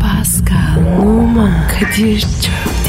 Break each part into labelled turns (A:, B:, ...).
A: Pascal, Oman, Kadir çok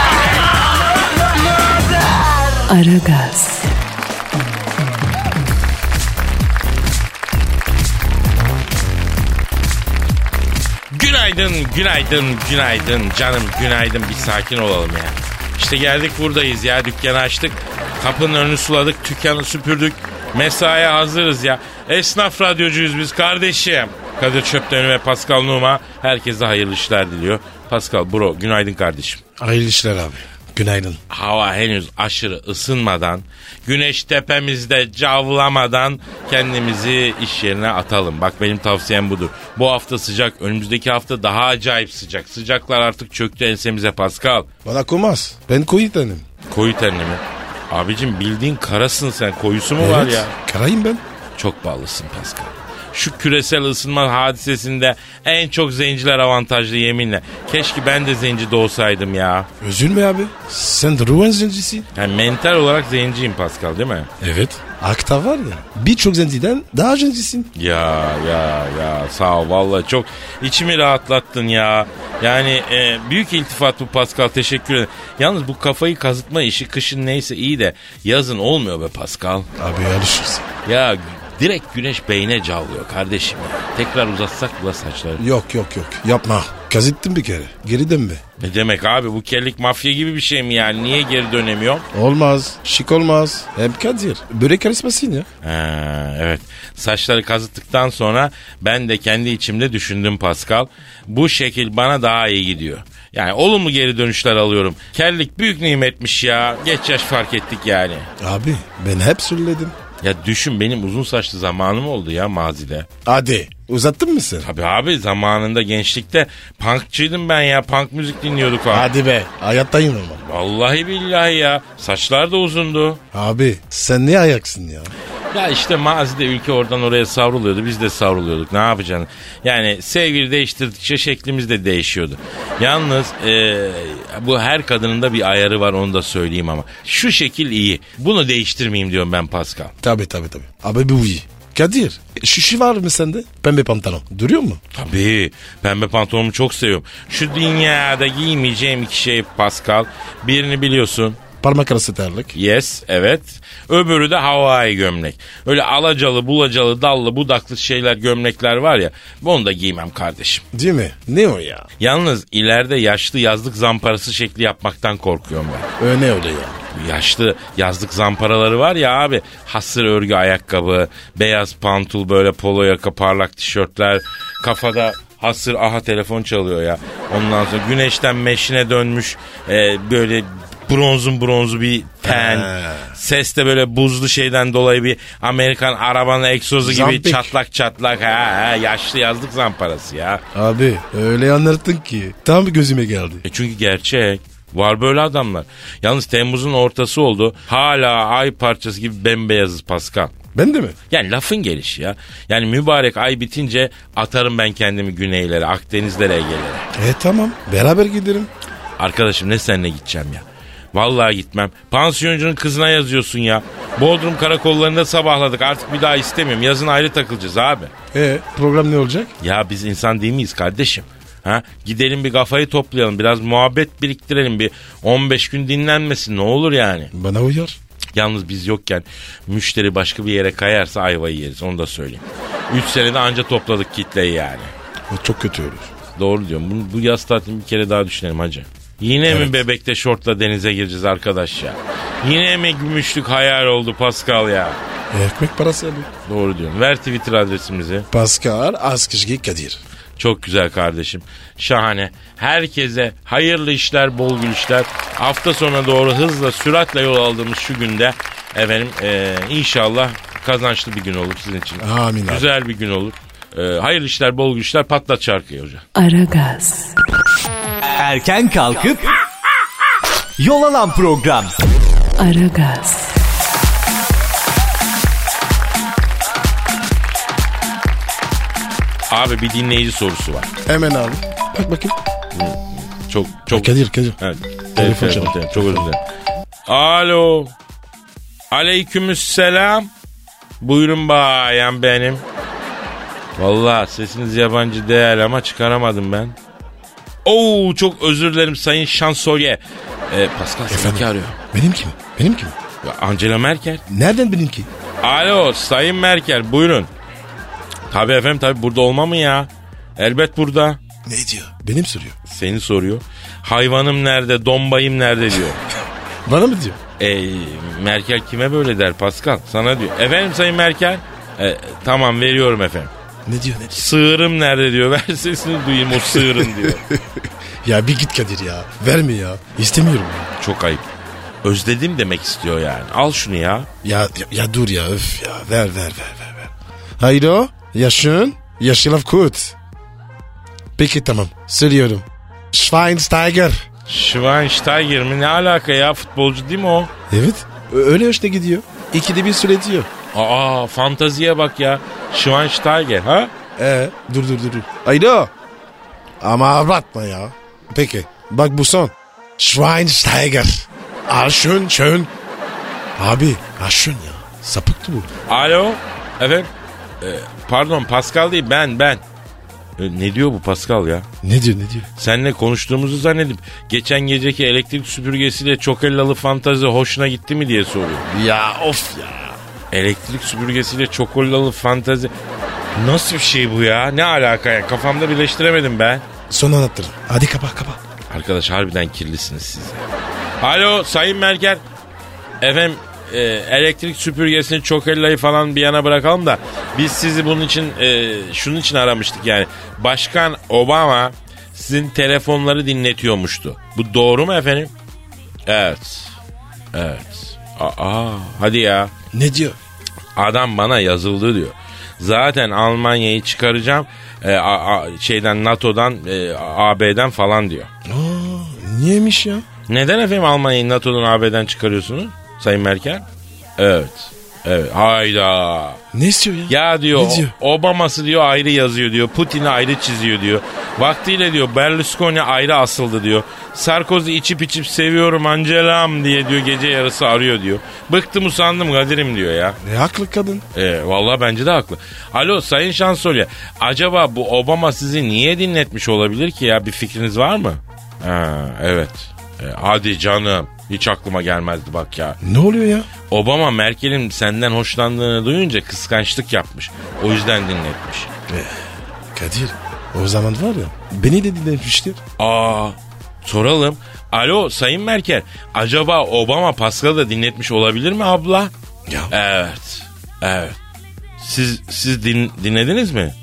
A: Aragaz,
B: Günaydın, günaydın, günaydın canım günaydın bir sakin olalım ya. İşte geldik buradayız ya dükkanı açtık. Kapının önünü suladık, dükkanı süpürdük. Mesaiye hazırız ya. Esnaf radyocuyuz biz kardeşim. Kadir Çöpten ve Pascal Numa herkese hayırlı işler diliyor. Pascal bro günaydın kardeşim.
C: Hayırlı işler abi. Günaydın.
B: Hava henüz aşırı ısınmadan, güneş tepemizde cavlamadan kendimizi iş yerine atalım. Bak benim tavsiyem budur. Bu hafta sıcak, önümüzdeki hafta daha acayip sıcak. Sıcaklar artık çöktü ensemize Pascal.
C: Bana koymaz. Ben koyu tanım.
B: Koyu tenli mi? Abicim bildiğin karasın sen, koyusu mu var ya?
C: Karayım ben.
B: Çok ballısın Pascal. Şu küresel ısınma hadisesinde en çok zenciler avantajlı yeminle. Keşke ben de zenci doğsaydım ya.
C: Üzülme abi. Sen de Ruan zencisi.
B: Yani mental olarak zenciyim Pascal değil mi?
C: Evet. Akta var ya. Birçok zenciden daha zencisin.
B: Ya ya ya sağ ol valla çok içimi rahatlattın ya. Yani e, büyük iltifat bu Pascal teşekkür ederim. Yalnız bu kafayı kazıtma işi kışın neyse iyi de yazın olmuyor be Pascal.
C: Abi alışırız.
B: Ya direkt güneş beyne cavlıyor kardeşim ya. Tekrar uzatsak bula saçları.
C: Yok yok yok. Yapma. Kazıttın bir kere. Geri dönme.
B: Ne demek abi bu kellik mafya gibi bir şey mi yani niye geri dönemiyor?
C: Olmaz. Şık olmaz. Hem Kadir. Böyle karışmasın ya.
B: Ha, evet. Saçları kazıttıktan sonra ben de kendi içimde düşündüm Pascal. Bu şekil bana daha iyi gidiyor. Yani olumlu geri dönüşler alıyorum. Kellik büyük nimetmiş ya. Geç yaş fark ettik yani.
C: Abi ben hep söyledim.
B: Ya düşün benim uzun saçlı zamanım oldu ya mazide.
C: Hadi. Uzattın mı sen?
B: Tabii abi zamanında gençlikte punkçıydım ben ya. Punk müzik dinliyorduk abi.
C: Hadi be. Hayattayım ama.
B: Vallahi billahi ya. Saçlar da uzundu.
C: Abi sen ne ayaksın ya?
B: Ya işte mazide ülke oradan oraya savruluyordu. Biz de savruluyorduk. Ne yapacaksın? Yani sevgili değiştirdikçe şeklimiz de değişiyordu. Yalnız e, bu her kadının da bir ayarı var onu da söyleyeyim ama. Şu şekil iyi. Bunu değiştirmeyeyim diyorum ben Pascal.
C: Tabi tabi tabi. Abi bu iyi. Kadir şişi var mı sende? Pembe pantolon. Duruyor mu?
B: Tabii. Pembe pantolonumu çok seviyorum. Şu dünyada giymeyeceğim iki şey Pascal. Birini biliyorsun.
C: Parmak arası terlik.
B: Yes, evet. Öbürü de havai gömlek. Öyle alacalı, bulacalı, dallı, budaklı şeyler, gömlekler var ya. Onu da giymem kardeşim.
C: Değil mi? Ne o ya?
B: Yalnız ileride yaşlı yazlık zamparası şekli yapmaktan korkuyorum ben.
C: Öne öyle ya.
B: Bu Yaşlı yazlık zamparaları var ya abi. Hasır örgü ayakkabı, beyaz pantul böyle polo yaka, parlak tişörtler, kafada hasır aha telefon çalıyor ya. Ondan sonra güneşten meşine dönmüş e, böyle bronzun bronzu bir ten. Ses de böyle buzlu şeyden dolayı bir Amerikan arabanın egzozu gibi
C: Zampik.
B: çatlak çatlak. Ha, ha, yaşlı yazlık zamparası ya.
C: Abi öyle anlattın ki. Tam gözüme geldi.
B: E çünkü gerçek. Var böyle adamlar. Yalnız Temmuz'un ortası oldu. Hala ay parçası gibi bembeyazız Pascal.
C: Ben de mi?
B: Yani lafın gelişi ya. Yani mübarek ay bitince atarım ben kendimi güneylere, Akdenizlere, Ege'lere.
C: E tamam. Beraber giderim.
B: Arkadaşım ne seninle gideceğim ya. Vallahi gitmem. Pansiyoncunun kızına yazıyorsun ya. Bodrum karakollarında sabahladık. Artık bir daha istemiyorum. Yazın ayrı takılacağız abi.
C: E program ne olacak?
B: Ya biz insan değil miyiz kardeşim? Ha? Gidelim bir kafayı toplayalım. Biraz muhabbet biriktirelim. Bir 15 gün dinlenmesin. Ne olur yani.
C: Bana uyar.
B: Yalnız biz yokken müşteri başka bir yere kayarsa ayvayı yeriz. Onu da söyleyeyim. 3 senede anca topladık kitleyi yani.
C: O çok kötü olur.
B: Doğru diyorum. Bunu, bu yaz tatilini bir kere daha düşünelim hacı. Yine mi bebekte şortla denize gireceğiz arkadaş ya? Yine mi gümüşlük hayal oldu Pascal ya?
C: E, ekmek parası abi.
B: Doğru diyorsun. Ver Twitter adresimizi.
C: Pascal Askışgi Kadir.
B: Çok güzel kardeşim. Şahane. Herkese hayırlı işler, bol gülüşler. Hafta sonuna doğru hızla, süratle yol aldığımız şu günde efendim eee, inşallah kazançlı bir gün olur sizin için.
C: Amin abi.
B: Güzel bir gün olur. Eee, hayırlı işler, bol gülüşler. Patlat şarkıyı hocam.
A: Aragaz,
D: Erken kalkıp yol alan program.
A: Aragaz,
B: Abi bir dinleyici sorusu var.
C: Hemen abi. Bak bakayım.
B: Çok çok.
C: Kadir Kadir.
B: Evet.
C: Telefon çalıyor.
B: telefon, Çok özür dilerim. Alo. Aleykümselam. Buyurun bayan benim. Vallahi sesiniz yabancı değil ama çıkaramadım ben. Oo çok özür dilerim sayın şansölye. Ee, Pascal seninki arıyor.
C: Benim kim? Benim kim?
B: Ya Angela Merkel.
C: Nereden benimki?
B: Alo Sayın Merkel buyurun. Tabii efendim tabii burada olma mı ya? Elbet burada.
C: Ne diyor? Benim soruyor.
B: Seni soruyor. Hayvanım nerede, dombayım nerede diyor.
C: Bana mı diyor?
B: E, Merkel kime böyle der Pascal? Sana diyor. Efendim Sayın Merkel? E, tamam veriyorum efendim.
C: Ne diyor ne diyor?
B: Sığırım nerede diyor. Ver sesini duyayım o sığırın diyor.
C: Ya bir git Kadir ya. Verme ya. İstemiyorum ya.
B: Çok ayıp. Özledim demek istiyor yani. Al şunu ya.
C: Ya, ya, ya dur ya öf ya. Ver ver ver ver. ver. Haydo. Yaşın. Yaşılaf kut. Peki tamam. Söylüyorum. Schweinsteiger.
B: Schweinsteiger mi? Ne alaka ya? Futbolcu değil mi o?
C: Evet. Ö- Öyle işte gidiyor. İkide bir süre diyor.
B: Aa fantaziye bak ya. Schweinsteiger ha?
C: Ee, dur dur dur. dur. Haydo. Ama abartma ya. Peki. Bak bu son. Schweinsteiger. Ah schön schön. Abi ah schön ya. Sapıktı bu.
B: Alo. Efendim? E, pardon Pascal değil ben ben. E, ne diyor bu Pascal ya?
C: Ne diyor ne diyor?
B: Seninle konuştuğumuzu zannedip geçen geceki elektrik süpürgesiyle çok ellalı fantazi hoşuna gitti mi diye soruyor.
C: Ya of ya.
B: Elektrik süpürgesiyle çokolalı fantazi nasıl bir şey bu ya? Ne alaka ya? Kafamda birleştiremedim ben.
C: Son anahtarı. Hadi kapa kapa.
B: Arkadaş harbiden kirlisiniz siz. ya. Alo Sayın Merkel. Efendim e, elektrik süpürgesini çokellayı falan bir yana bırakalım da biz sizi bunun için e, şunun için aramıştık yani. Başkan Obama sizin telefonları dinletiyormuştu. Bu doğru mu efendim? Evet. Evet. Aa hadi ya.
C: Ne diyor?
B: Adam bana yazıldı diyor. Zaten Almanya'yı çıkaracağım e, a- a- şeyden NATO'dan e, AB'den falan diyor.
C: Niyemiş ya?
B: Neden efendim Almanya'yı NATO'dan AB'den çıkarıyorsunuz Sayın Merkel? Evet. Evet. Hayda.
C: Ne istiyor ya?
B: Ya diyor,
C: Ne diyor?
B: Obama'sı diyor ayrı yazıyor diyor. Putin'i ayrı çiziyor diyor. Vaktiyle diyor Berlusconi ayrı asıldı diyor. Sarkozy içip içip seviyorum Angelam diye diyor gece yarısı arıyor diyor. Bıktım usandım Kadir'im diyor ya.
C: Ne haklı kadın?
B: E, vallahi bence de haklı. Alo Sayın Şansölye. Acaba bu Obama sizi niye dinletmiş olabilir ki ya? Bir fikriniz var mı? Ha, evet. E, hadi canım. Hiç aklıma gelmezdi bak ya.
C: Ne oluyor ya?
B: Obama Merkel'in senden hoşlandığını duyunca kıskançlık yapmış. O yüzden dinletmiş.
C: Kadir o zaman var ya beni de dinlemiştir.
B: Aa soralım. Alo Sayın Merkel. Acaba Obama Pascal'ı da dinletmiş olabilir mi abla?
C: Ya.
B: Evet. Evet. Siz siz din- dinlediniz mi?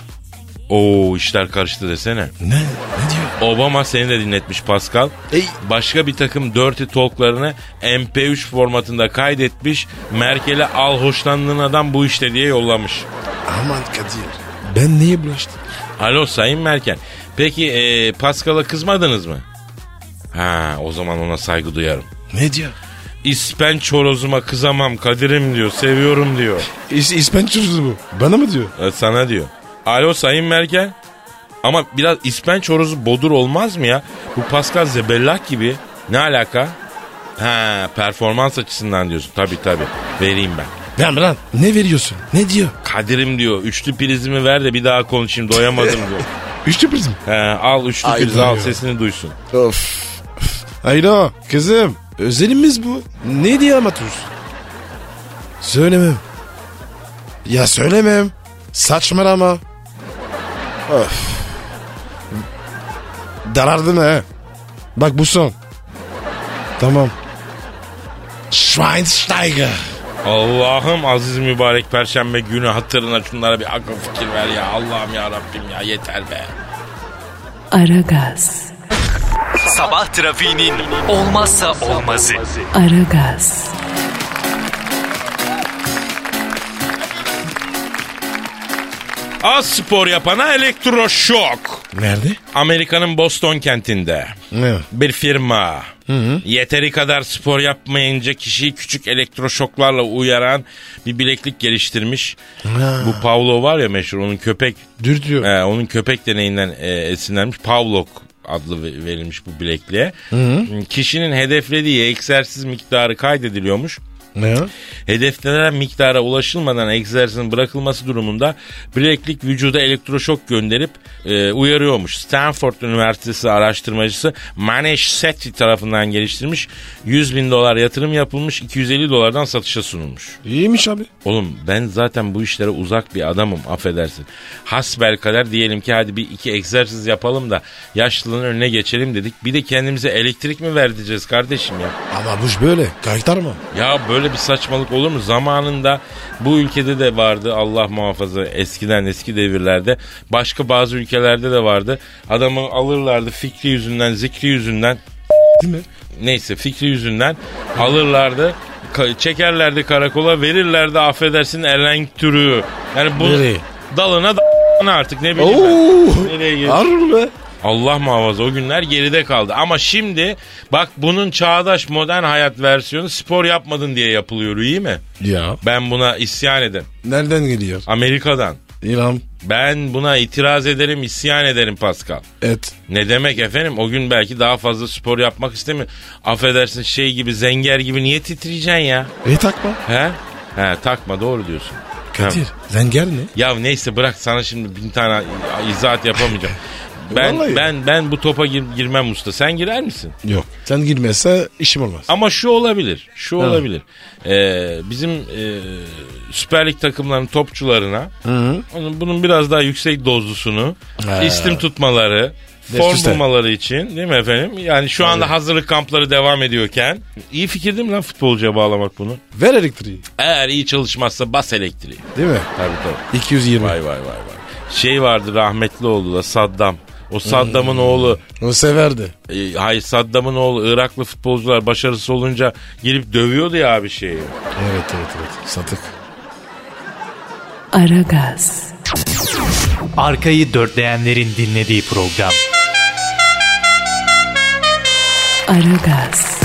B: Oo işler karıştı desene.
C: Ne? Ne diyor?
B: Obama seni de dinletmiş Pascal.
C: Ey.
B: Başka bir takım Dirty Talk'larını MP3 formatında kaydetmiş. Merkel'e al hoşlandığın adam bu işte diye yollamış.
C: Aman Kadir. Ben neye bulaştım?
B: Alo Sayın Merkel. Peki e, Pascal'a kızmadınız mı? Ha o zaman ona saygı duyarım.
C: Ne diyor?
B: İspen çorozuma kızamam Kadir'im diyor. Seviyorum diyor.
C: İs İspençürüz bu. Bana mı diyor?
B: E, Sana diyor. Alo Sayın Merkel. Ama biraz ispen çorozu bodur olmaz mı ya? Bu Pascal Zebellak gibi. Ne alaka? Ha performans açısından diyorsun. Tabii tabii. Vereyim ben.
C: Lan lan ne veriyorsun? Ne diyor?
B: Kadir'im diyor. Üçlü prizimi ver de bir daha konuşayım. Doyamadım diyor.
C: Üçlü prizm.
B: He, al üçlü
C: Ay,
B: prizi al
C: duyuyor.
B: sesini duysun.
C: Of. Hayda kızım özelimiz bu. Ne diye anlatıyorsun? Söylemem. Ya söylemem. Saçmalama. Of. Darardın he. Bak bu son. Tamam. Schweinsteiger.
B: Allah'ım aziz mübarek perşembe günü hatırına şunlara bir akıl fikir ver ya. Allah'ım ya Rabbim ya yeter be.
A: Aragaz,
D: Sabah trafiğinin olmazsa olmazı.
A: Aragaz,
B: Aragaz, Az spor yapana elektroşok.
C: Nerede?
B: Amerika'nın Boston kentinde
C: Ne?
B: bir firma yeteri kadar spor yapmayınca kişiyi küçük elektroşoklarla uyaran bir bileklik geliştirmiş. Bu Pavlov var ya meşhur onun köpek
C: Dur diyor.
B: Ee, onun köpek deneyinden e, esinlenmiş Pavlok adlı ve- verilmiş bu bilekliğe. Kişinin hedeflediği egzersiz miktarı kaydediliyormuş.
C: Ne?
B: Hedeflenen miktara ulaşılmadan egzersizin bırakılması durumunda bileklik vücuda elektroşok gönderip e, uyarıyormuş. Stanford Üniversitesi araştırmacısı Manish Sethi tarafından geliştirilmiş 100 bin dolar yatırım yapılmış 250 dolardan satışa sunulmuş.
C: İyiymiş abi.
B: Oğlum ben zaten bu işlere uzak bir adamım affedersin. Hasbel kadar diyelim ki hadi bir iki egzersiz yapalım da yaşlılığın önüne geçelim dedik. Bir de kendimize elektrik mi verdireceğiz kardeşim ya?
C: Ama bu iş böyle. Kaytarma.
B: Ya böyle bir saçmalık olur mu? Zamanında bu ülkede de vardı Allah muhafaza eskiden eski devirlerde. Başka bazı ülkelerde de vardı. Adamı alırlardı fikri yüzünden zikri yüzünden
C: Değil mi?
B: neyse fikri yüzünden alırlardı. ka- çekerlerdi karakola verirlerdi affedersin elektürü. Yani bu
C: Nereye?
B: dalına da artık ne bileyim
C: Oo.
B: ben. Nereye girdi?
C: Harbi be.
B: Allah muhafaza o günler geride kaldı. Ama şimdi bak bunun çağdaş modern hayat versiyonu spor yapmadın diye yapılıyor iyi mi?
C: Ya.
B: Ben buna isyan ederim.
C: Nereden geliyor?
B: Amerika'dan.
C: İlham.
B: Ben buna itiraz ederim, isyan ederim Pascal.
C: Et.
B: Ne demek efendim? O gün belki daha fazla spor yapmak istemiyor. Affedersin şey gibi, zenger gibi niye titreyeceksin ya?
C: E takma.
B: He? He takma doğru diyorsun.
C: Kadir.
B: Ha.
C: Zenger ne?
B: Ya neyse bırak sana şimdi bin tane izahat yapamayacağım. Ben,
C: Vallahi.
B: ben ben bu topa gir- girmem usta. Sen girer misin?
C: Yok. Sen girmezse işim olmaz.
B: Ama şu olabilir. Şu olabilir. Ee, bizim e, Süper Lig takımlarının topçularına onun bunun biraz daha yüksek dozlusunu istim tutmaları form
C: üste.
B: bulmaları için değil mi efendim? Yani şu anda hazırlık kampları devam ediyorken iyi fikir değil mi lan futbolcuya bağlamak bunu?
C: Ver elektriği.
B: Eğer iyi çalışmazsa bas elektriği.
C: Değil mi?
B: Tabii tabii.
C: 220.
B: Vay vay vay vay. Şey vardı rahmetli oldu da Saddam. O Saddam'ın oğlu
C: O severdi.
B: e, hayır Saddam'ın oğlu Iraklı futbolcular başarısız olunca gelip dövüyordu ya abi şeyi.
C: Evet evet evet. Satık.
A: Aragaz,
D: Arkayı dörtleyenlerin dinlediği program.
A: Aragaz,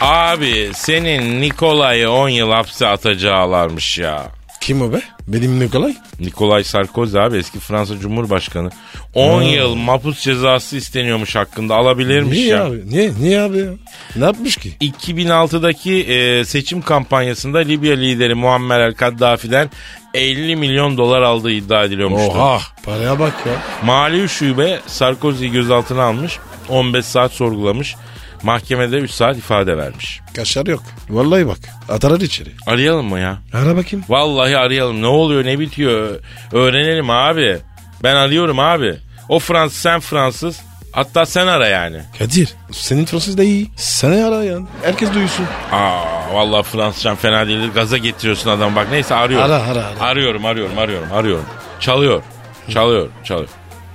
B: Abi senin Nikolay'ı 10 yıl hapse atacağılarmış ya.
C: Kim o be? Benim Nikolay.
B: Nikolay Sarkozy abi eski Fransa Cumhurbaşkanı. 10 yıl mapus cezası isteniyormuş hakkında alabilirmiş
C: Hmm. Niye
B: ya.
C: abi? Niye? Niye abi ya? Ne yapmış ki?
B: 2006'daki e, seçim kampanyasında Libya lideri Muammer El Kaddafi'den 50 milyon dolar aldığı iddia ediliyormuştu.
C: Oha. Paraya bak ya.
B: Mali şube Sarkozy'yi gözaltına almış. 15 saat sorgulamış. Mahkemede 3 saat ifade vermiş.
C: Kaşar yok. Vallahi bak. Atarlar içeri.
B: Arayalım mı ya?
C: Ara bakayım.
B: Vallahi arayalım. Ne oluyor ne bitiyor? Öğrenelim abi. Ben arıyorum abi. O Fransız sen Fransız. Hatta sen ara yani.
C: Kadir. Senin Fransız da iyi. Sana ara yani. Herkes duysun.
B: Aa vallahi Fransızcan fena değildir. Gaza getiriyorsun adam bak. Neyse arıyorum.
C: Ara, ara, ara.
B: Arıyorum arıyorum arıyorum arıyorum. Çalıyor. Çalıyor çalıyor.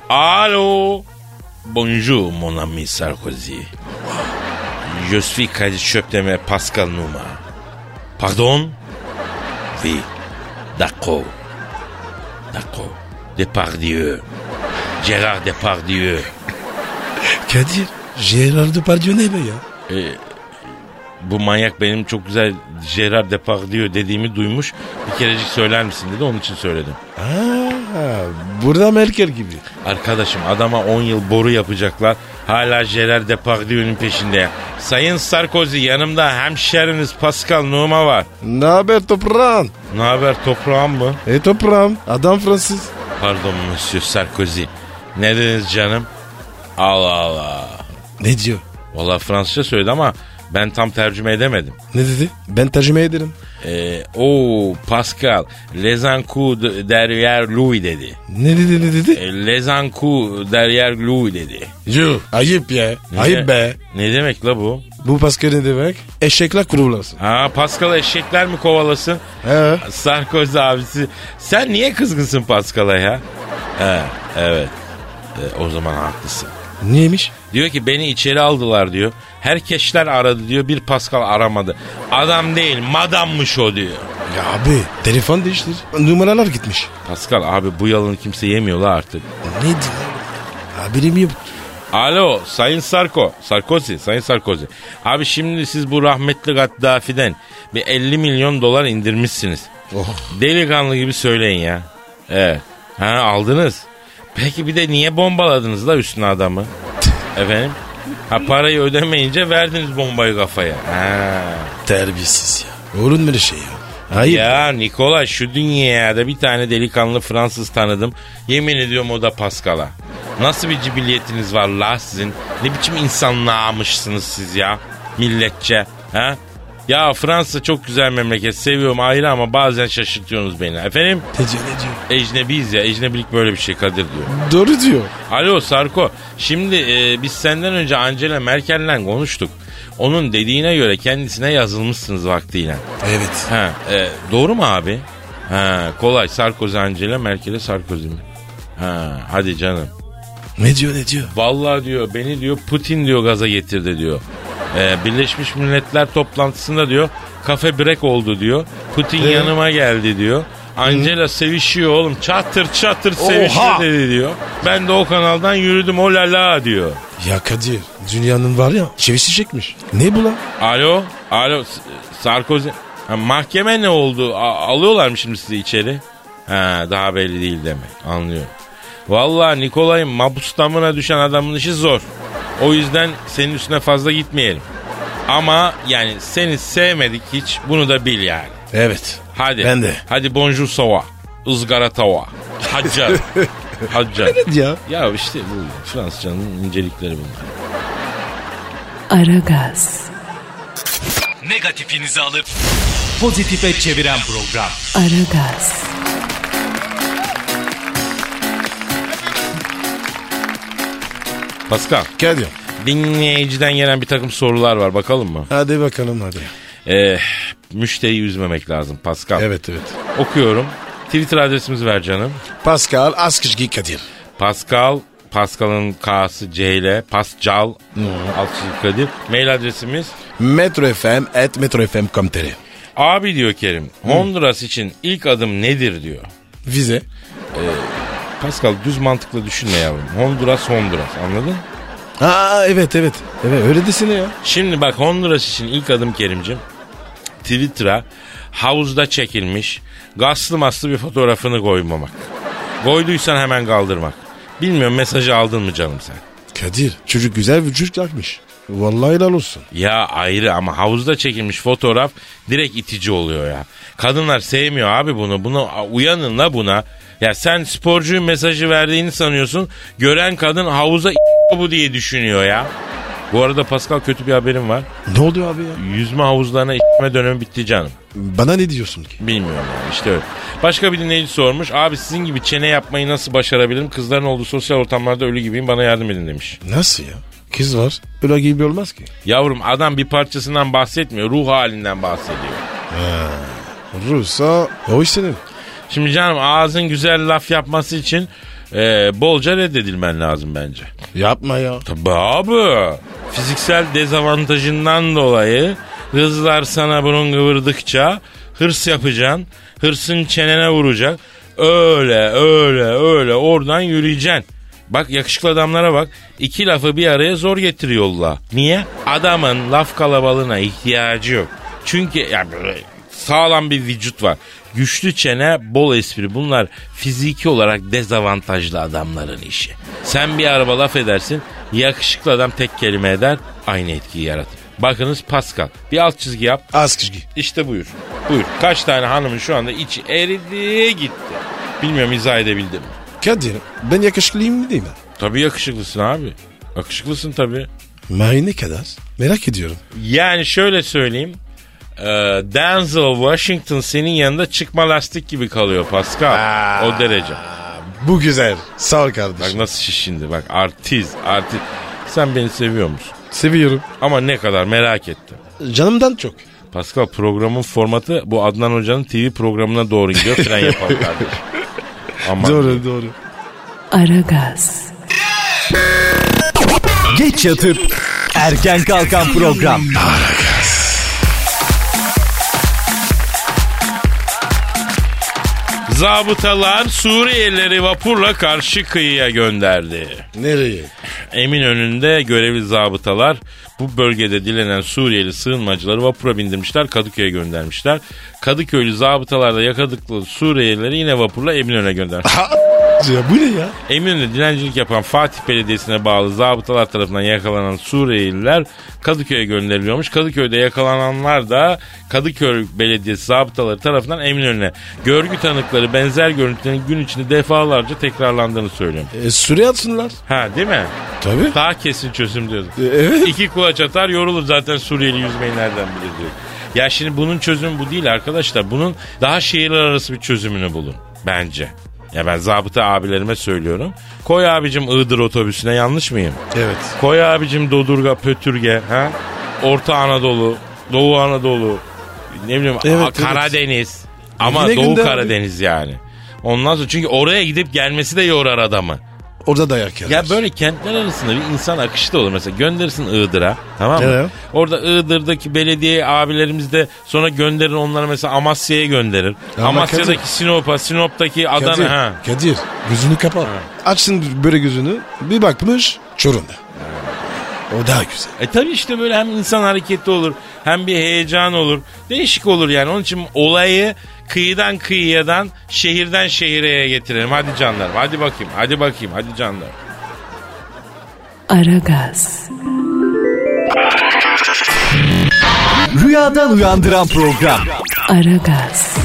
B: Alo. Bonjour mon ami Sarkozy. Je suis Kadir Çöpdemir Pascal Numa. Pardon? Oui. D'accord. D'accord. Depardieu. Gérard Depardieu.
C: Kadir. Gerard Depardieu ne be ya?
B: bu manyak benim çok güzel Gerard Depardieu dediğimi duymuş. Bir kerecik söyler misin dedi onun için söyledim.
C: Aa, burada Merkel gibi.
B: Arkadaşım adama 10 yıl boru yapacaklar. Hala Gerard Depardieu'nun peşinde. ya. Sayın Sarkozy yanımda hemşeriniz Pascal Numa var.
C: Ne haber toprağım?
B: Ne haber toprağım mı?
C: E toprağım. Adam Fransız.
B: Pardon Monsieur Sarkozy. Ne dediniz canım? Allah Allah.
C: Ne diyor?
B: Valla Fransızca söyledi ama ben tam tercüme edemedim.
C: Ne dedi? Ben tercüme ederim.
B: Ee, o Pascal, les coups de- derrière lui dedi.
C: Ne dedi ne dedi?
B: E, Lezanku derrière lui dedi.
C: Yo, ayıp ya. Ayıp be.
B: Ne demek la bu?
C: Bu Pascal ne demek? Eşekler kurularsın.
B: Ha Pascal eşekler mi kovalasın?
C: He.
B: Sarkozy abisi. Sen niye kızgınsın Pascal'a ya? He, evet. E, o zaman haklısın.
C: Neymiş?
B: Diyor ki beni içeri aldılar diyor. Herkesler aradı diyor. Bir Pascal aramadı. Adam değil madammış o diyor.
C: Ya abi telefon değiştir. Numaralar gitmiş.
B: Pascal abi bu yalanı kimse yemiyor la artık.
C: Ne diyor? Haberim yok.
B: Alo Sayın Sarko. Sarkozy, Sayın Sarkozy. Abi şimdi siz bu rahmetli Gaddafi'den bir 50 milyon dolar indirmişsiniz.
C: Oh.
B: Delikanlı gibi söyleyin ya. Evet. Ha aldınız. Peki bir de niye bombaladınız da üstüne adamı? Efendim? Ha parayı ödemeyince verdiniz bombayı kafaya. Ha.
C: Terbiyesiz ya. Olur mu öyle şey ya? Hayır.
B: Ya Nikola şu dünyada bir tane delikanlı Fransız tanıdım. Yemin ediyorum o da Pascal'a. Nasıl bir cibiliyetiniz var la sizin? Ne biçim insanlığa siz ya? Milletçe. Ha? Ya Fransa çok güzel memleket. Seviyorum ayrı ama bazen şaşırtıyorsunuz beni. Efendim?
C: Ne diyor, ne diyor?
B: Ecnebiyiz ya. Ecnebilik böyle bir şey Kadir diyor.
C: Doğru diyor.
B: Alo Sarko. Şimdi e, biz senden önce Angela Merkel'le konuştuk. Onun dediğine göre kendisine yazılmışsınız vaktiyle.
C: Evet.
B: Ha, e, doğru mu abi? Ha, kolay Sarkozy Angela Merkel'e Sarkozy mi? Ha, hadi canım.
C: Ne diyor ne diyor?
B: Vallahi diyor beni diyor Putin diyor gaza getirdi diyor. E, Birleşmiş Milletler toplantısında diyor kafe break oldu diyor. Putin yanıma geldi diyor. Angela sevişiyor oğlum çatır çatır sevişiyor dedi diyor. Ben de o kanaldan yürüdüm o la la diyor.
C: Ya Kadir dünyanın var ya çevisi çekmiş. Ne bu lan?
B: Alo, alo S- Sarkozy. Ha, mahkeme ne oldu? A- alıyorlar mı şimdi sizi içeri? Ha, daha belli değil demek. Anlıyorum. Vallahi Nikolay'ın mabus damına düşen adamın işi zor. O yüzden senin üstüne fazla gitmeyelim. Ama yani seni sevmedik hiç. Bunu da bil yani.
C: Evet.
B: Hadi.
C: Ben de.
B: Hadi bonjour sova. Izgara tava. Haccar. Haccar.
C: Ya.
B: Ya işte bu Fransızcanın incelikleri bunlar.
A: Aragaz,
D: Negatifinizi alıp pozitife çeviren program.
A: Aragaz,
B: Pascal.
C: Kadir.
B: Dinleyiciden gelen bir takım sorular var bakalım mı?
C: Hadi bakalım hadi.
B: Ee, müşteriyi üzmemek lazım Pascal.
C: Evet evet.
B: Okuyorum. Twitter adresimizi ver canım.
C: Pascal Askışgi Kadir.
B: Pascal, Pascal'ın K'sı C ile Pascal, alt çizgi Kadir. Mail adresimiz
C: Metro FM et metrofm.com.tr
B: Abi diyor Kerim, Honduras için ilk adım nedir diyor.
C: Vize.
B: Pascal düz mantıkla düşünme yavrum. Honduras Honduras anladın?
C: Aa evet evet. Evet öyle desene ya.
B: Şimdi bak Honduras için ilk adım Kerim'cim. Twitter'a havuzda çekilmiş gaslı maslı bir fotoğrafını koymamak. Koyduysan hemen kaldırmak. Bilmiyorum mesajı aldın mı canım sen?
C: Kadir çocuk güzel bir çocuk yapmış. Vallahi helal olsun.
B: Ya ayrı ama havuzda çekilmiş fotoğraf direkt itici oluyor ya. Kadınlar sevmiyor abi bunu. Bunu uyanın la buna. Ya sen sporcuyu mesajı verdiğini sanıyorsun. Gören kadın havuza bu diye düşünüyor ya. Bu arada Pascal kötü bir haberim var.
C: Ne oldu abi ya?
B: Yüzme havuzlarına içme dönemi bitti canım.
C: Bana ne diyorsun ki?
B: Bilmiyorum yani işte öyle. Başka bir dinleyici sormuş. Abi sizin gibi çene yapmayı nasıl başarabilirim? Kızların olduğu sosyal ortamlarda ölü gibiyim bana yardım edin demiş.
C: Nasıl ya? Kız var. Öyle gibi olmaz ki.
B: Yavrum adam bir parçasından bahsetmiyor. Ruh halinden bahsediyor.
C: Rusa o istedim.
B: Şimdi canım ağzın güzel laf yapması için e, bolca reddedilmen lazım bence.
C: Yapma ya.
B: Tabii abi. Fiziksel dezavantajından dolayı kızlar sana bunun kıvırdıkça hırs yapacaksın. Hırsın çenene vuracak. Öyle öyle öyle oradan yürüyeceksin. Bak yakışıklı adamlara bak. İki lafı bir araya zor getiriyorlar. Niye? Adamın laf kalabalığına ihtiyacı yok. Çünkü ya böyle sağlam bir vücut var. Güçlü çene, bol espri. Bunlar fiziki olarak dezavantajlı adamların işi. Sen bir araba laf edersin, yakışıklı adam tek kelime eder, aynı etkiyi yaratır. Bakınız Pascal. Bir alt çizgi yap,
C: Askışgi.
B: işte buyur. Buyur. Kaç tane hanımın şu anda içi eridi gitti. Bilmiyorum izah edebildim mi?
C: Kadir ben yakışıklıyım mı değil mi?
B: Tabii yakışıklısın abi. Yakışıklısın tabii.
C: May ne kadar? Merak ediyorum.
B: Yani şöyle söyleyeyim. Ee, Denzel Washington senin yanında çıkma lastik gibi kalıyor Pascal. O derece.
C: Bu güzel. Sağ ol
B: Bak
C: kardeşim.
B: nasıl şişindi bak artist artist. Sen beni seviyor musun?
C: Seviyorum.
B: Ama ne kadar merak ettim.
C: Canımdan çok.
B: Pascal programın formatı bu Adnan Hoca'nın TV programına doğru gidiyor. Fren yapalım kardeşim. Aman.
C: Doğru doğru.
A: Aragaz,
E: Geç yatıp erken kalkan program.
B: Zabıtalar Suriyelileri vapurla karşı kıyıya gönderdi.
C: Nereye?
B: Eminönü'nde görevli zabıtalar bu bölgede dilenen Suriyeli sığınmacıları vapura bindirmişler Kadıköy'e göndermişler. Kadıköylü zabıtalar da yakaladıkları Suriyelileri yine vapurla Eminönü'ne gönderdi.
C: Ya bu ne ya?
B: Eminönü'nde dilencilik yapan Fatih Belediyesi'ne bağlı zabıtalar tarafından yakalanan Suriyeliler Kadıköy'e gönderiliyormuş. Kadıköy'de yakalananlar da Kadıköy Belediyesi zabıtaları tarafından Eminönü'ne. Görgü tanıkları benzer görüntülerin gün içinde defalarca tekrarlandığını söylüyor.
C: E, süre atsınlar.
B: Ha değil mi?
C: Tabii. E,
B: Daha kesin çözüm diyordum.
C: evet.
B: İki kulaç atar yorulur zaten Suriyeli yüzmeyi nereden bilir diyor. Ya şimdi bunun çözümü bu değil arkadaşlar. Bunun daha şehirler arası bir çözümünü bulun bence. Ya ben zabıta abilerime söylüyorum. Koy abicim Iğdır otobüsüne yanlış mıyım?
C: Evet.
B: Koy abicim Dodurga, Pötürge, ha? Orta Anadolu, Doğu Anadolu, ne bileyim
C: Evet,
B: a-
C: evet.
B: Karadeniz. Ama
C: Yine
B: Doğu
C: gündem.
B: Karadeniz yani. Ondan sonra çünkü oraya gidip gelmesi de yorar adamı.
C: Orada dayak yerler.
B: Ya böyle kentler arasında bir insan akışı da olur. Mesela gönderirsin Iğdır'a tamam mı?
C: Evet.
B: Orada Iğdır'daki belediye abilerimiz de sonra gönderir onları mesela Amasya'ya gönderir.
C: Ama
B: Amasya'daki
C: Kadir-
B: Sinop'a, Sinop'taki Adana.
C: Kadir,
B: ha.
C: Kadir gözünü kapat. Açsın böyle gözünü. Bir bakmış Çorum'da. O daha güzel.
B: E tabii işte böyle hem insan hareketi olur hem bir heyecan olur. Değişik olur yani. Onun için olayı kıyıdan kıyıdan şehirden şehireye getirelim. Hadi canlarım hadi bakayım hadi bakayım hadi canlarım.
A: Aragaz,
E: Rüyadan uyandıran program.
A: Aragaz,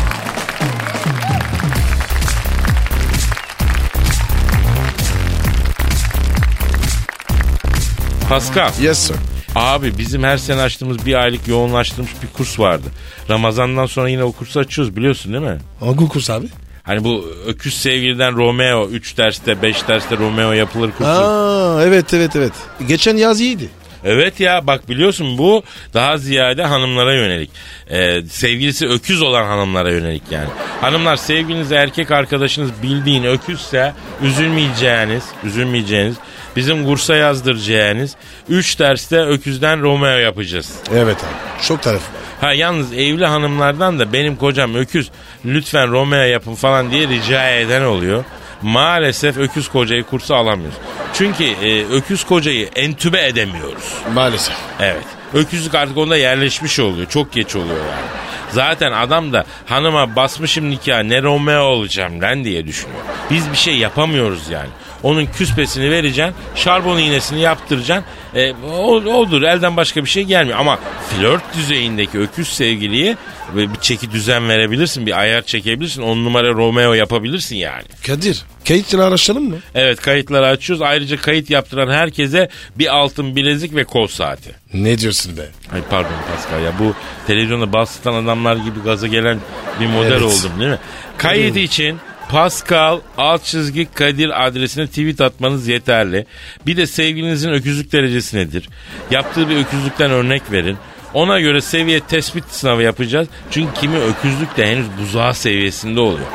B: Pascal.
C: Yes sir.
B: Abi bizim her sene açtığımız bir aylık yoğunlaştırılmış bir kurs vardı. Ramazandan sonra yine o kursu açıyoruz biliyorsun değil mi?
C: Hangi kurs abi?
B: Hani bu öküz sevgiliden Romeo 3 derste 5 derste Romeo yapılır kursu.
C: Aa evet evet evet. Geçen yaz iyiydi.
B: Evet ya bak biliyorsun bu daha ziyade hanımlara yönelik. Ee, sevgilisi öküz olan hanımlara yönelik yani. Hanımlar sevgiliniz erkek arkadaşınız bildiğin öküzse üzülmeyeceğiniz, üzülmeyeceğiniz bizim kursa yazdıracağınız 3 derste öküzden Romeo yapacağız.
C: Evet abi. Çok tarafı var.
B: Ha yalnız evli hanımlardan da benim kocam öküz lütfen Romeo yapın falan diye rica eden oluyor. Maalesef öküz kocayı kursa alamıyoruz. Çünkü e, öküz kocayı entübe edemiyoruz.
C: Maalesef.
B: Evet. Öküzlük artık onda yerleşmiş oluyor. Çok geç oluyor yani. Zaten adam da hanıma basmışım nikah ne Romeo olacağım lan diye düşünüyor. Biz bir şey yapamıyoruz yani. Onun küspesini vereceksin, şarbon iğnesini yaptıracaksın. E, o, odur elden başka bir şey gelmiyor. Ama flört düzeyindeki öküz sevgiliyi ve bir çeki düzen verebilirsin, bir ayar çekebilirsin. On numara Romeo yapabilirsin yani.
C: Kadir kayıtları araştıralım mı?
B: Evet kayıtları açıyoruz. Ayrıca kayıt yaptıran herkese bir altın bilezik ve kol saati.
C: Ne diyorsun be?
B: Ay pardon Pascal ya bu televizyonda bastıtan adamlar gibi gaza gelen bir model
C: Evet.
B: oldum değil mi? Kayıt için Pascal alt çizgi Kadir adresine tweet atmanız yeterli. Bir de sevgilinizin öküzlük derecesi nedir? Yaptığı bir öküzlükten örnek verin. Ona göre seviye tespit sınavı yapacağız. Çünkü kimi öküzlük de henüz buzağı seviyesinde oluyor.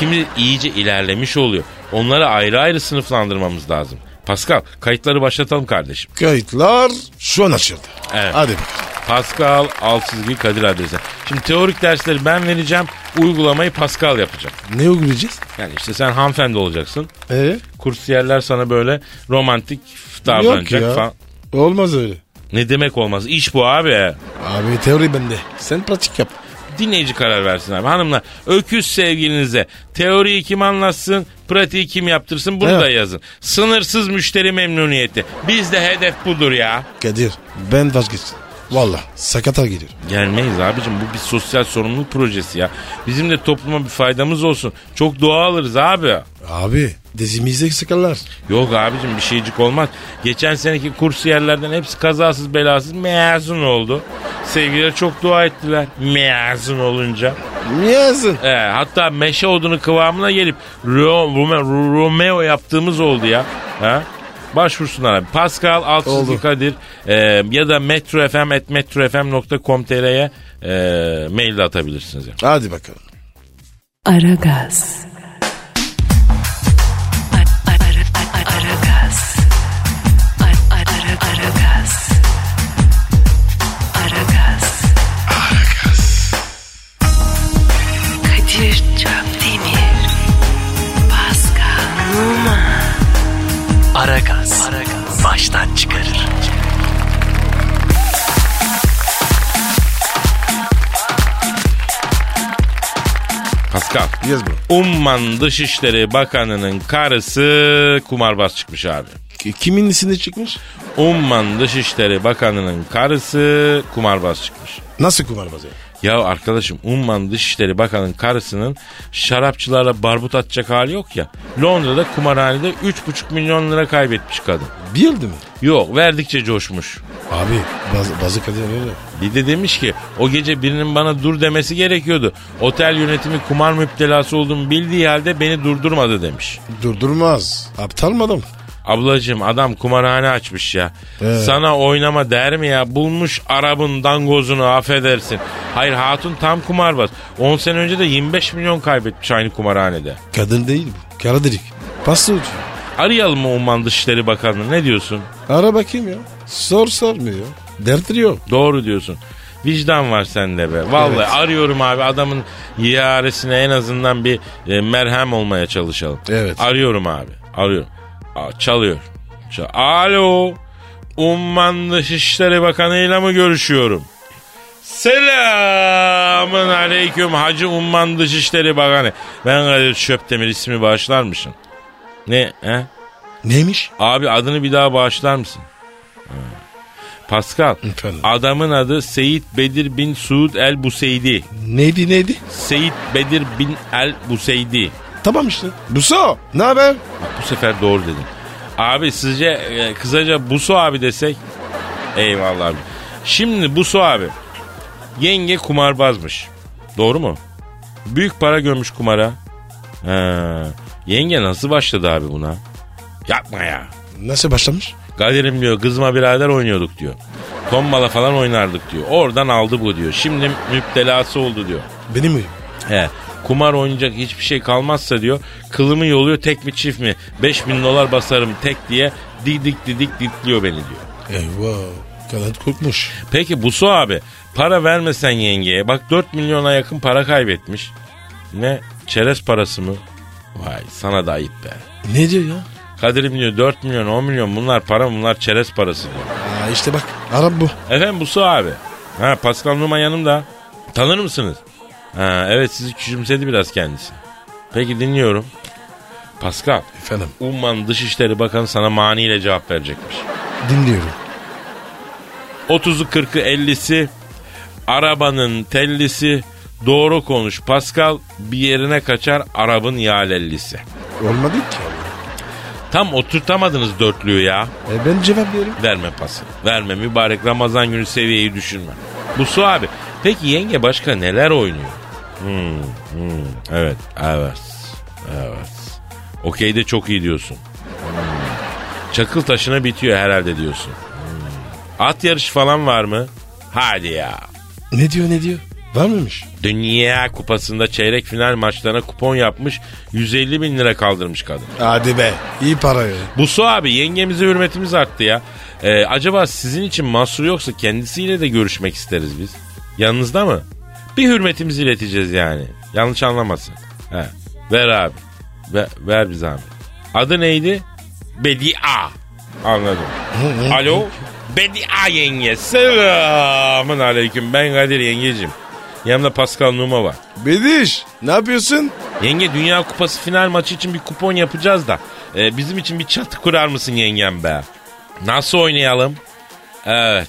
B: Kimi iyice ilerlemiş oluyor. Onları ayrı ayrı sınıflandırmamız lazım. Pascal kayıtları başlatalım kardeşim.
C: Kayıtlar şu an açıldı.
B: Evet.
C: Hadi bakalım.
B: Pascal alt çizgi Kadir adresi. Şimdi teorik dersleri ben vereceğim. Uygulamayı Pascal yapacak.
C: Ne uygulayacağız?
B: Yani işte sen hanımefendi olacaksın.
C: Ee?
B: Kursiyerler sana böyle romantik davranacak
C: Yok ya.
B: falan.
C: Olmaz öyle.
B: Ne demek olmaz? İş bu abi.
C: Abi teori bende. Sen pratik yap.
B: Dinleyici karar versin abi. Hanımlar öküz sevgilinize teoriyi kim anlatsın, pratiği kim yaptırsın bunu
C: Evet.
B: da yazın. Sınırsız müşteri memnuniyeti. Bizde hedef budur ya.
C: Kadir ben vazgeçtim. Valla sakata gelir.
B: Gelmeyiz abicim bu bir sosyal sorumluluk projesi ya. Bizim de topluma bir faydamız olsun. Çok doğa alırız abi.
C: Abi dizimizde sıkarlar.
B: Yok abicim bir şeycik olmaz. Geçen seneki kursiyerlerden hepsi kazasız belasız mezun oldu. Sevgiler çok dua ettiler mezun olunca.
C: Niye yazın?
B: Ee, hatta meşe odunu kıvamına gelip Ro- Rome- Ro- Romeo yaptığımız oldu ya. Ha? Başvursunlar abi. Pascal Altçızlı
C: Oldu.
B: Kadir e, ya da metrofm.metrofm.com.tr'ye e, mail de atabilirsiniz. Yani.
C: Hadi bakalım.
A: Aragaz. Aragaz, Aragaz, Aragaz, Aragaz. Baştan çıkarır.
B: Pascal.
F: Yes bro.
B: Umman Dışişleri Bakanı'nın karısı kumarbaz çıkmış abi.
C: Ki- Kimin isinde çıkmış?
B: Umman Dışişleri Bakanı'nın karısı kumarbaz çıkmış.
C: Nasıl kumarbaz ya?
B: Ya arkadaşım Umman Dışişleri Bakanı'nın karısının şarapçılarla barbut atacak hali yok ya. Londra'da kumarhanede 3,5 milyon lira kaybetmiş kadın.
C: Bir yıldı mı?
B: Yok verdikçe coşmuş.
C: Abi baz, bazı kadın öyle.
B: Bir de demiş ki o gece birinin bana dur demesi gerekiyordu. Otel yönetimi kumar müptelası olduğumu bildiği halde beni durdurmadı demiş.
C: Durdurmaz. Aptal mı adam?
B: Ablacığım adam kumarhane açmış ya.
C: Evet.
B: Sana oynama der mi ya? Bulmuş Arap'ın dangozunu affedersin. Hayır hatun tam kumarbaz. 10 sene önce de 25 milyon kaybetmiş aynı kumarhanede.
C: Kadın değil bu. Kara delik. Pasta uçuyor.
B: Arayalım mı Umman Dışişleri Bakanı'nı ne diyorsun?
C: Ara bakayım ya. Sor sormuyor. Dertleri yok.
B: Doğru diyorsun. Vicdan var sende be. Vallahi
C: Evet.
B: arıyorum abi adamın yaresine en azından bir e, merhem olmaya çalışalım.
C: Evet.
B: Arıyorum abi. Arıyorum. Aa, çalıyor. Çal- Alo. Umman Dışişleri Bakanı'yla mı görüşüyorum? Selamın aleyküm Hacı Umman Dışişleri Bakanı. Ben Kadir Çöptemir ismi bağışlar mısın? Ne? He?
C: Neymiş?
B: Abi adını bir daha bağışlar mısın? Ha. Pascal.
C: Efendim?
B: Adamın adı Seyit Bedir bin Suud el Buseydi.
C: Neydi neydi?
B: Seyit Bedir bin el Buseydi.
C: Tamam işte. Buso ne haber?
B: Bak bu sefer doğru dedim. Abi sizce e, kısaca Buso abi desek? Eyvallah abi. Şimdi Buso abi. Yenge kumarbazmış. Doğru mu? Büyük para gömmüş kumara. Ha. Yenge nasıl başladı abi buna? Yapma ya.
C: Nasıl başlamış?
B: Kadir'im diyor kızma birader oynuyorduk diyor. Tombala falan oynardık diyor. Oradan aldı bu diyor. Şimdi müptelası oldu diyor.
C: Benim mi?
B: He. Kumar oynayacak hiçbir şey kalmazsa diyor. Kılımı yoluyor tek mi çift mi? 5000 dolar basarım tek diye didik didik didikliyor beni diyor.
C: Eyvah. Kanat korkmuş.
B: Peki Busu abi para vermesen yengeye bak 4 milyona yakın para kaybetmiş. Ne? Çerez parası mı? Vay sana da ayıp be.
C: Ne diyor ya?
B: Kadir'im diyor 4 milyon 10 milyon bunlar para bunlar çerez parası diyor.
C: Aa, işte bak. Arap bu.
B: Efendim Busu abi. Ha Pascal Numa yanımda. Tanır mısınız? Ha, evet sizi küçümsedi biraz kendisi. Peki dinliyorum. Pascal,
C: Efendim.
B: Umman Dışişleri Bakanı sana maniyle cevap verecekmiş.
C: Dinliyorum.
B: 30'u 40'ı 50'si, arabanın tellisi, doğru konuş Pascal, bir yerine kaçar arabın yalellisi.
C: Olmadı ki.
B: Tam oturtamadınız dörtlüyü ya.
C: E, ben cevap veririm.
B: Verme pası. Verme mübarek Ramazan günü seviyeyi düşürme. Bu su abi. Peki yenge başka neler oynuyor? Hmm, hmm, evet, evet, evet. Okey de çok iyi diyorsun. Hmm. Çakıl taşına bitiyor herhalde diyorsun. Hmm. At yarışı falan var mı? Hadi ya.
C: Ne diyor ne diyor? Var mıymış?
B: Dünya kupasında çeyrek final maçlarına kupon yapmış 150 bin lira kaldırmış kadın.
C: Hadi be. İyi para ya.
B: Bu su abi yengemize hürmetimiz arttı ya. Ee, acaba sizin için mahsur yoksa kendisiyle de görüşmek isteriz biz. Yanınızda mı? Bir hürmetimizi ileteceğiz yani. Yanlış anlamasın. He. Ver abi. Ver, ver bir zahmet. Adı neydi? Bedia. Anladım. Alo. Bedia yenge. Selamın aleyküm. Ben Kadir yengecim. Yanımda Pascal Numa var.
C: Bediş ne yapıyorsun?
B: Yenge Dünya Kupası final maçı için bir kupon yapacağız da. e, bizim için bir çatı kurar mısın yengem be? Nasıl oynayalım? Evet.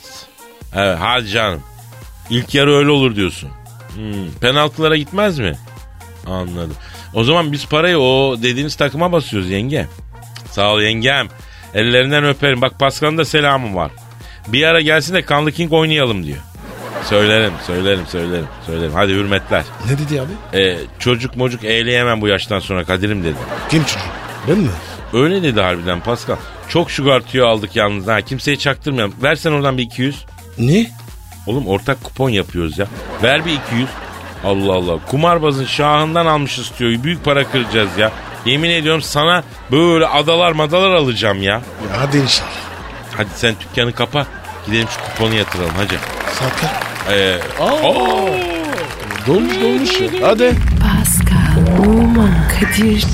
B: Evet hadi canım. İlk yarı öyle olur diyorsun. Hmm, penaltılara gitmez mi? Anladım. O zaman biz parayı o dediğiniz takıma basıyoruz yenge. Sağ ol yengem. Ellerinden öperim. Bak Paskan'ın da selamı var. Bir ara gelsin de Kanlı King oynayalım diyor. Söylerim, söylerim, söylerim, söylerim. Hadi hürmetler.
C: Ne dedi abi?
B: E, çocuk mocuk eğleyemem bu yaştan sonra Kadir'im dedi.
C: Kim çocuk? Ben mi?
B: Öyle dedi harbiden Pascal. Çok sugar tüyü aldık yalnız ha kimseye çaktırmayalım. Versen oradan bir 200.
C: Ne?
B: Oğlum ortak kupon yapıyoruz ya. Ver bir 200. Allah Allah. Kumarbazın şahından almışız tüyoyu. Büyük para kıracağız ya. Yemin ediyorum sana böyle adalar madalar alacağım ya.
C: Ya hadi inşallah.
B: Hadi sen dükkanı kapa. Gidelim şu kuponu yatıralım hacı.
C: Sakla.
B: Ee,
C: Dolmuş dolmuş ya. Hadi.
A: Pascal, Oman, Kadir çok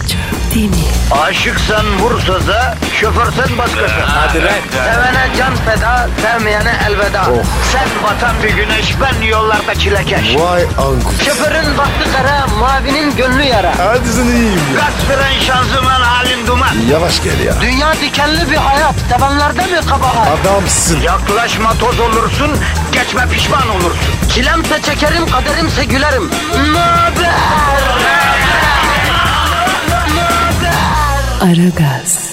A: Aragaz.
G: Aşıksan vursa da, şoförsen başkasın. Hadi
D: lan.
G: Sevene can feda, sevmeyene elveda. Sen batan bir güneş, ben yollarda çilekeş.
C: Vay anku.
G: Şoförün baktı kara, mavinin gönlü yara.
C: Hadi sen iyiyim ya.
G: Kasperen şanzıman halin duman.
C: Yavaş gel ya.
G: Dünya dikenli bir hayat, sevenlerde mi kabahar?
C: Adamsın.
G: Yaklaşma toz olursun, geçme pişman olursun. Çilemse çekerim, kaderimse gülerim. Möber!
A: Aragaz.